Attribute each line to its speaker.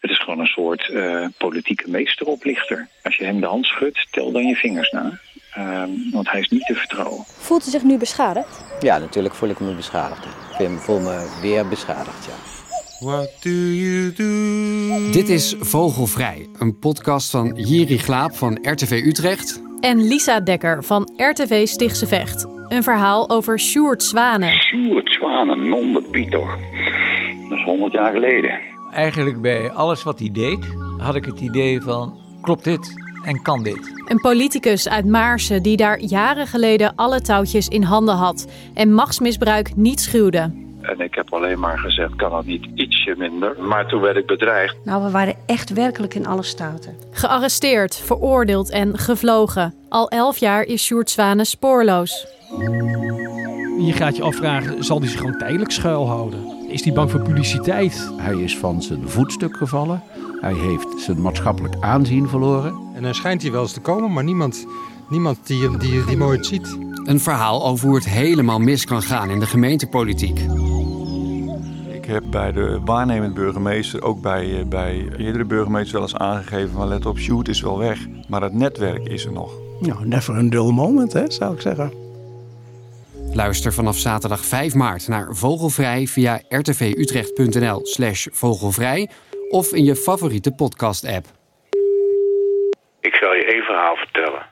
Speaker 1: is gewoon een soort uh, politieke meesteroplichter. Als je hem de hand schudt, tel dan je vingers na. Uh, want hij is niet te vertrouwen.
Speaker 2: Voelt u zich nu beschadigd?
Speaker 3: Ja, natuurlijk voel ik me beschadigd. Ik voel me weer beschadigd, ja.
Speaker 4: What do you do?
Speaker 5: Dit is Vogelvrij, een podcast van Jiri Glaap van RTV Utrecht.
Speaker 6: En Lisa Dekker van RTV Stichtse Vecht. Een verhaal over Sjoerd Zwanen.
Speaker 1: Sjoerd Zwanen, non de Pieter. Dat is 100 jaar geleden.
Speaker 7: Eigenlijk bij alles wat hij deed, had ik het idee van... klopt dit en kan dit?
Speaker 6: Een politicus uit Maarsen die daar jaren geleden alle touwtjes in handen had... en machtsmisbruik niet schuwde.
Speaker 1: En ik heb alleen maar gezegd, kan dat niet ietsje minder? Maar toen werd ik bedreigd.
Speaker 8: Nou, we waren echt werkelijk in alle staten.
Speaker 6: Gearresteerd, veroordeeld en gevlogen. Al elf jaar is Sjoerd Zwanen spoorloos.
Speaker 9: Je gaat je afvragen, zal hij zich gewoon tijdelijk schuilhouden? Is hij bang voor publiciteit?
Speaker 10: Hij is van zijn voetstuk gevallen. Hij heeft zijn maatschappelijk aanzien verloren.
Speaker 11: En dan schijnt hij wel eens te komen, maar niemand, niemand die, die, die, die nooit ziet.
Speaker 5: Een verhaal over hoe het helemaal mis kan gaan in de gemeentepolitiek.
Speaker 12: Ik heb bij de waarnemend burgemeester, ook bij, eh, bij eerdere burgemeesters wel eens aangegeven van let op, shoot is wel weg, maar het netwerk is er nog.
Speaker 13: Nou, never een dull moment, hè, zou ik zeggen.
Speaker 5: Luister vanaf zaterdag 5 maart naar Vogelvrij via rtvutrecht.nl slash vogelvrij of in je favoriete podcast-app.
Speaker 14: Ik zal je één verhaal vertellen.